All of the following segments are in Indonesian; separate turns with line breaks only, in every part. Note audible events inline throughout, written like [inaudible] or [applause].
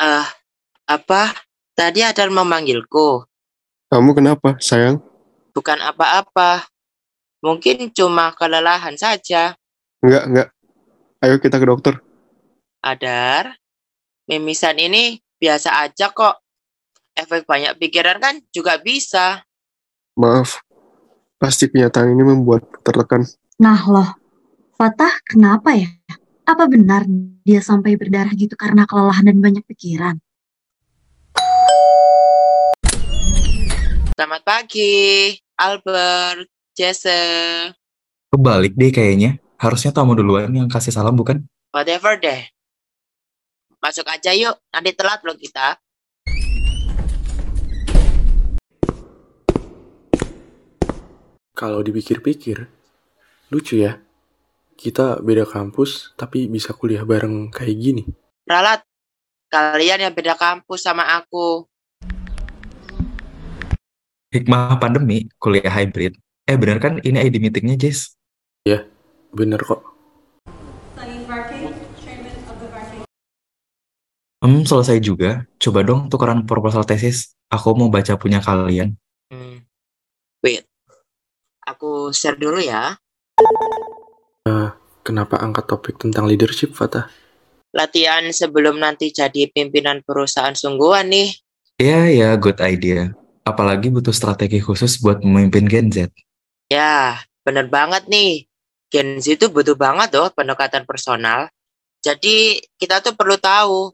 Eh, apa? Tadi ada yang memanggilku.
Kamu kenapa, sayang?
Bukan apa-apa. Mungkin cuma kelelahan saja.
Enggak, enggak. Ayo kita ke dokter.
Adar, mimisan ini biasa aja kok. Efek banyak pikiran kan juga bisa.
Maaf. Pasti kenyataan ini membuat tertekan.
Nah loh, Fatah kenapa ya? Apa benar dia sampai berdarah gitu karena kelelahan dan banyak pikiran?
Selamat pagi, Albert, Jesse,
Kebalik deh kayaknya. Harusnya tamu duluan yang kasih salam bukan?
whatever deh. Masuk aja yuk, nanti telat loh kita.
Kalau dipikir-pikir, lucu ya. Kita beda kampus, tapi bisa kuliah bareng kayak gini.
Ralat, kalian yang beda kampus sama aku.
Hikmah pandemi, kuliah hybrid. Eh bener kan ini ID meetingnya Jess?
Bener kok.
Hmm, selesai juga. Coba dong tukeran proposal tesis. Aku mau baca punya kalian.
Hmm. Wait, aku share dulu ya.
Kenapa angkat topik tentang leadership, Fatah?
latihan sebelum nanti jadi pimpinan perusahaan sungguhan nih.
Ya ya, good idea. Apalagi butuh strategi khusus buat memimpin Gen Z.
Ya, bener banget nih. Gen Z itu butuh banget loh pendekatan personal. Jadi kita tuh perlu tahu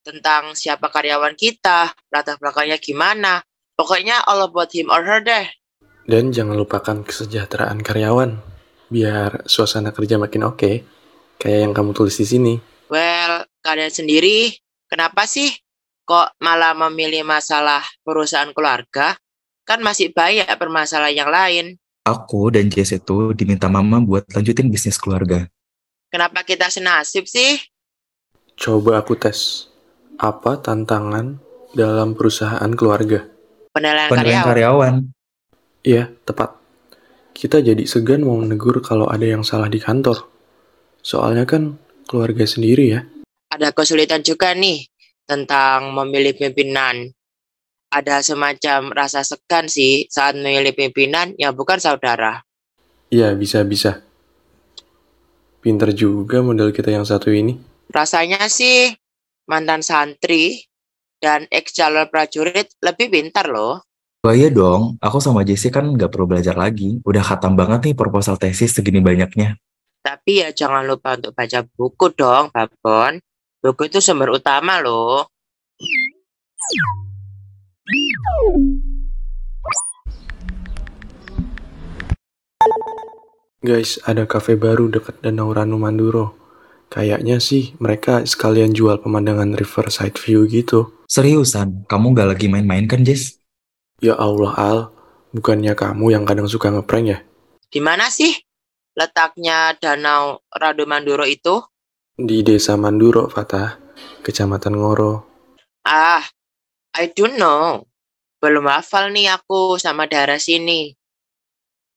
tentang siapa karyawan kita, latar belakangnya gimana. Pokoknya all about him or her deh.
Dan jangan lupakan kesejahteraan karyawan. Biar suasana kerja makin oke. Kayak yang kamu tulis di sini.
Well, kalian sendiri kenapa sih kok malah memilih masalah perusahaan keluarga? Kan masih banyak permasalahan yang lain.
Aku dan Jess itu diminta mama buat lanjutin bisnis keluarga.
Kenapa kita senasib sih?
Coba aku tes. Apa tantangan dalam perusahaan keluarga?
Penilaian,
Penilaian
karyawan.
karyawan.
Iya, tepat. Kita jadi segan mau menegur kalau ada yang salah di kantor. Soalnya kan keluarga sendiri ya.
ada kesulitan juga nih tentang memilih pimpinan. Ada semacam rasa segan sih saat memilih pimpinan yang bukan saudara.
Iya, bisa-bisa. Pinter juga model kita yang satu ini.
Rasanya sih mantan santri dan ex calon prajurit lebih pintar loh.
Wah iya dong, aku sama Jesse kan nggak perlu belajar lagi. Udah khatam banget nih proposal tesis segini banyaknya.
Tapi ya jangan lupa untuk baca buku dong, Babon. Buku itu sumber utama loh.
Guys, ada kafe baru dekat Danau Ranu Manduro. Kayaknya sih mereka sekalian jual pemandangan riverside view gitu.
Seriusan, kamu nggak lagi main-main kan Jess?
Ya Allah Al, bukannya kamu yang kadang suka ngeprank ya?
Di mana sih letaknya Danau Radu Manduro itu?
Di desa Manduro, Fatah, kecamatan Ngoro.
Ah, I don't know. Belum hafal nih aku sama daerah sini.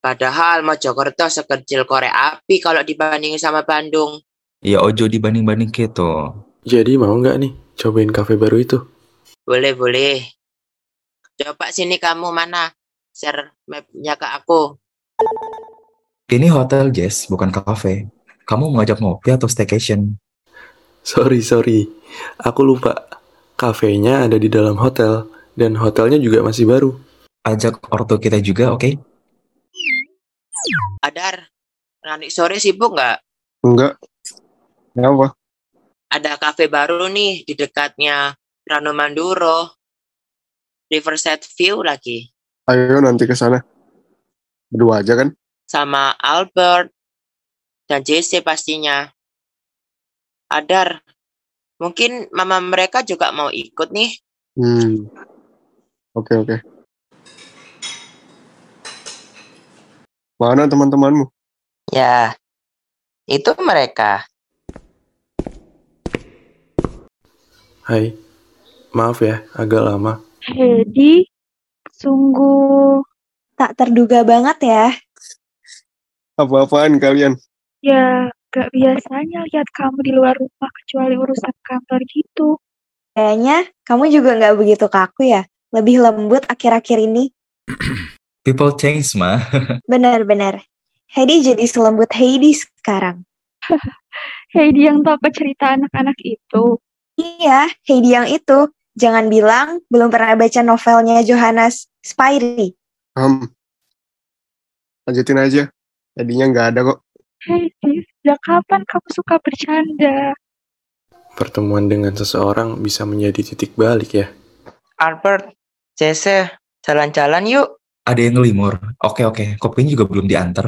Padahal Mojokerto sekecil korek api kalau dibandingin sama Bandung.
Ya ojo dibanding-banding gitu.
Jadi mau nggak nih cobain kafe baru itu? [laughs]
Boleh, boleh. Coba sini kamu mana? Share mapnya ke aku.
Ini hotel Jess, bukan kafe. Kamu mau ngajak ngopi atau staycation?
Sorry, sorry. Aku lupa. Kafenya ada di dalam hotel. Dan hotelnya juga masih baru.
Ajak ortu kita juga, oke?
Adar, nanti sore sibuk nggak?
Enggak. Kenapa?
Ada kafe baru nih di dekatnya Rano Manduro. Riverside View lagi.
Ayo nanti ke sana. Berdua aja kan?
sama Albert dan JC pastinya. Adar, mungkin mama mereka juga mau ikut nih.
Hmm. Oke, oke. Mana teman-temanmu?
Ya, itu mereka.
Hai. Maaf ya, agak lama.
Hedi, sungguh tak terduga banget ya.
Apa-apaan kalian?
Ya, gak biasanya lihat kamu di luar rumah kecuali urusan kantor gitu.
Kayaknya kamu juga nggak begitu kaku ya. Lebih lembut akhir-akhir ini.
People change, mah.
Benar-benar. Heidi jadi selembut Heidi sekarang.
Heidi yang tahu cerita anak-anak itu.
Iya, Heidi yang itu. Jangan bilang belum pernah baca novelnya Johannes Spyri.
Hmm. Lanjutin aja. Tadinya nggak ada kok.
Heidi, sejak kapan kamu suka bercanda?
Pertemuan dengan seseorang bisa menjadi titik balik ya.
Albert, Jesse, jalan-jalan yuk.
Ada yang ngelimur. Oke, oke. Kopinya juga belum diantar.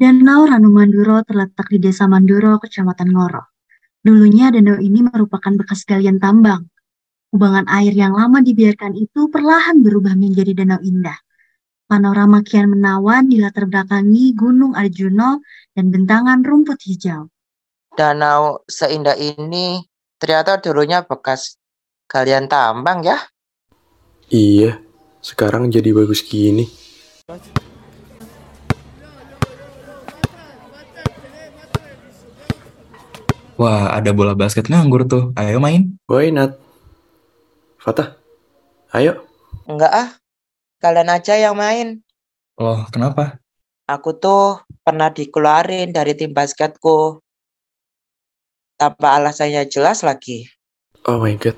Danau Ranu Manduro terletak di Desa Manduro, Kecamatan Ngoro. Dulunya danau ini merupakan bekas galian tambang. Kubangan air yang lama dibiarkan itu perlahan berubah menjadi danau indah. Panorama kian menawan dilatar belakangi Gunung Arjuno dan bentangan rumput hijau.
Danau seindah ini ternyata dulunya bekas kalian tambang ya.
Iya, sekarang jadi bagus gini.
Wah, ada bola basket nganggur tuh. Ayo main.
Why not? Fatah, ayo.
Enggak ah, kalian aja yang main.
Loh, kenapa?
Aku tuh pernah dikeluarin dari tim basketku. Tanpa alasannya jelas lagi.
Oh my god.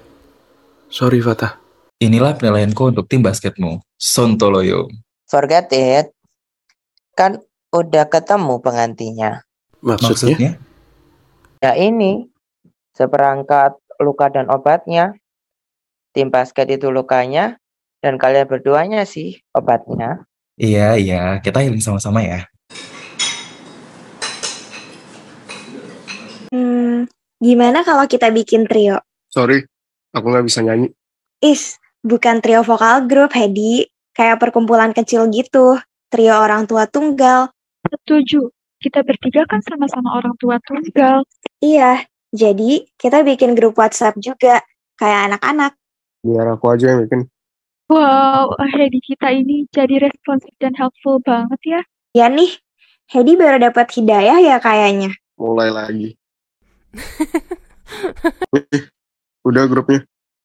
Sorry Fatah.
Inilah penilaianku untuk tim basketmu. Sontoloyo.
Forget it. Kan udah ketemu pengantinya.
Maksudnya?
Maksudnya?
Ya ini, seperangkat luka dan obatnya. Tim basket itu lukanya, dan kalian berduanya sih obatnya.
Iya, iya. Kita healing sama-sama ya.
Hmm, gimana kalau kita bikin trio?
Sorry, aku nggak bisa nyanyi.
Is, bukan trio vokal grup, Heidi. Kayak perkumpulan kecil gitu. Trio orang tua tunggal.
Setuju. Kita bertiga kan sama-sama orang tua tunggal.
Iya, jadi kita bikin grup WhatsApp juga. Kayak anak-anak.
Biar aku aja yang bikin.
Wow, Heidi kita ini jadi responsif dan helpful banget ya.
Ya nih, Heidi baru dapat hidayah ya kayaknya.
Mulai lagi. Wih, udah grupnya.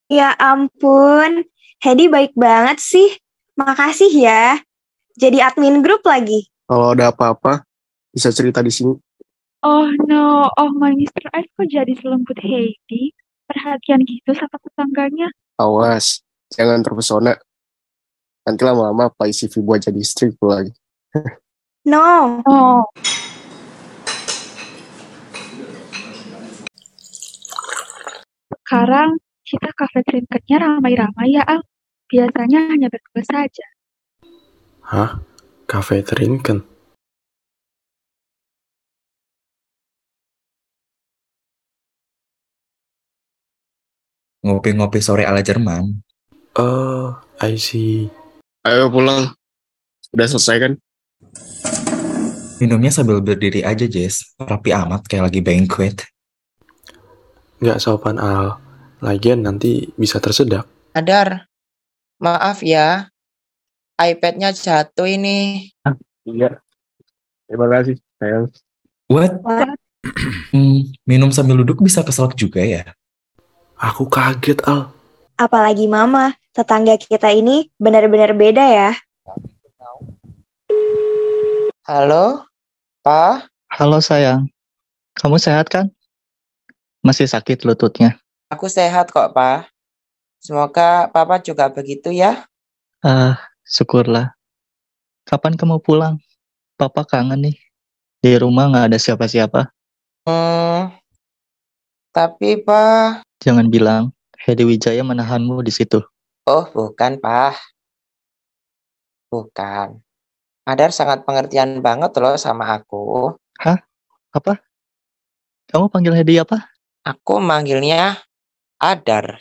Ya ampun, Hedi baik banget sih. Makasih ya. Jadi admin grup lagi.
Kalau ada apa-apa, bisa cerita di sini.
Oh no, oh my Mr. Ice kok jadi selembut Heidi? Perhatian gitu sama tetangganya.
Awas, jangan terpesona. Nanti lama-lama apply CV buat jadi istri pula lagi.
No,
Oh, sekarang kita kafe trinketnya ramai-ramai ya, Al. Biasanya hanya berdua saja.
Hah? Cafe Trinken?
Ngopi-ngopi sore ala Jerman.
Oh, I see.
Ayo pulang. Udah selesai kan?
Minumnya sambil berdiri aja, Jess. Rapi amat kayak lagi banquet.
Nggak sopan Al. Lagian nanti bisa tersedak.
Adar, maaf ya. iPad-nya jatuh ini.
Iya. Terima kasih, sayang.
What? [clears throat] Hmm, minum sambil duduk bisa keselak juga ya?
Aku kaget Al.
apalagi Mama, tetangga kita ini benar-benar beda ya.
Halo? Pa?
Halo sayang, kamu sehat kan? Masih sakit lututnya.
Aku sehat kok, Pa. Semoga Papa juga begitu ya.
Ah, syukurlah. Kapan kamu pulang? Papa kangen nih. Di rumah nggak ada siapa-siapa.
Hmm. Tapi, Pa...
Jangan bilang Hedi Wijaya menahanmu di situ.
Oh, bukan, Pak. Bukan. Adar sangat pengertian banget loh sama aku.
Kamu panggil Hedi apa?
Aku manggilnya Adar.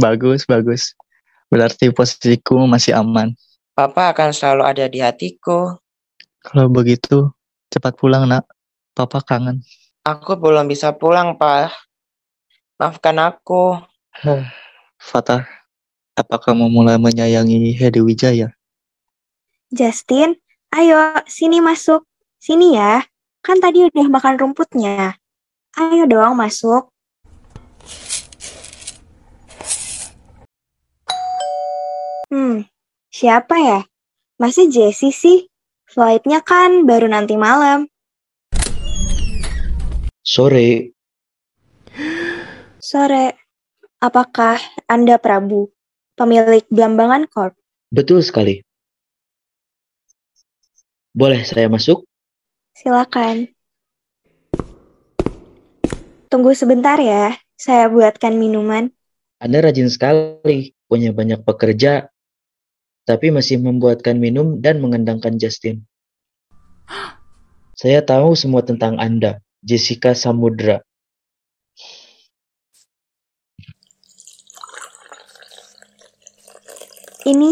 Bagus, bagus. Berarti posisiku masih aman.
Papa akan selalu ada di hatiku.
Kalau begitu, cepat pulang nak. Papa kangen.
Aku belum bisa pulang, Pak. Maafkan aku.
Fatah, apa kamu mulai menyayangi Hedi Wijaya?
Justin, ayo sini masuk. Sini ya. Kan tadi udah makan rumputnya. Ayo dong masuk. Hmm, siapa ya? Masih Jessie sih? Flightnya kan baru nanti malam.
Sore,
Sore. Apakah Anda Prabu, pemilik Blambangan Corp?
betul sekali. Boleh saya masuk?
Silakan. Tunggu sebentar ya. Saya buatkan minuman.
Anda rajin sekali, punya banyak pekerja, tapi masih membuatkan minum dan mengendangkan Justin. Saya tahu semua tentang Anda, Jessica Samudra.
Ini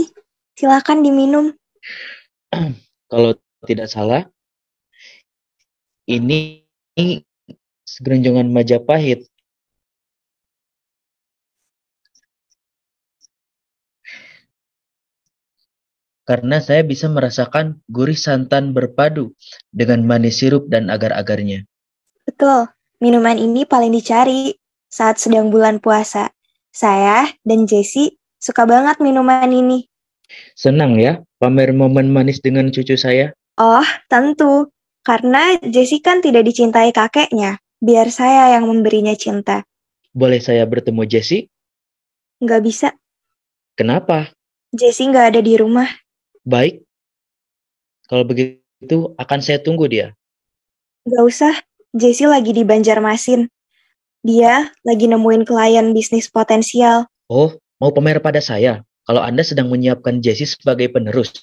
silakan diminum.
Kalau tidak salah, ini ini segeronjongan Majapahit. Karena saya bisa merasakan gurih santan berpadu dengan manis sirup dan agar-agarnya.
Betul. Minuman ini paling dicari saat sedang bulan puasa. Saya dan Jessie suka banget minuman ini.
Senang ya, pamer momen manis dengan cucu saya.
Oh, tentu. Karena Jessie kan tidak dicintai kakeknya. Biar saya yang memberinya cinta.
Boleh saya bertemu Jessie?
Nggak bisa.
Kenapa?
Jessie nggak ada di rumah.
Baik. Kalau begitu, akan saya tunggu dia.
Nggak usah. Jessie lagi di Banjarmasin. Dia lagi nemuin klien bisnis potensial.
Oh, mau pamer pada saya? Kalau Anda sedang menyiapkan Jessie sebagai penerus.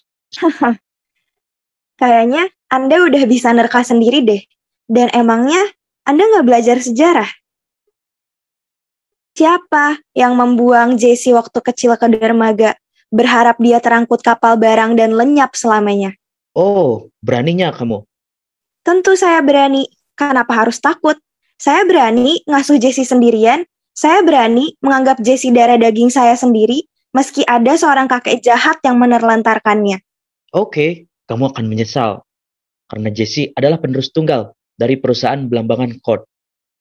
Kayaknya Anda udah bisa nerka sendiri deh. Dan emangnya Anda nggak belajar sejarah? Siapa yang membuang Jesse waktu kecil ke dermaga, berharap dia terangkut kapal barang dan lenyap selamanya?
Oh, beraninya kamu.
Tentu saya berani. Kenapa harus takut? Saya berani ngasuh Jesse sendirian. Saya berani menganggap Jesse darah daging saya sendiri, meski ada seorang kakek jahat yang menerlantarkannya.
Oke, kamu akan menyesal. Karena Jessie adalah penerus tunggal dari perusahaan Belambangan Court.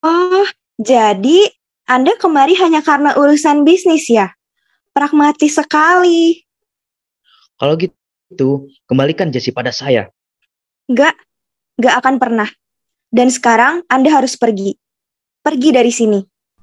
Oh, jadi Anda kemari hanya karena urusan bisnis ya? Pragmatis sekali.
Kalau gitu, kembalikan Jessie pada saya.
Nggak, nggak akan pernah. Dan sekarang Anda harus pergi. Pergi dari sini.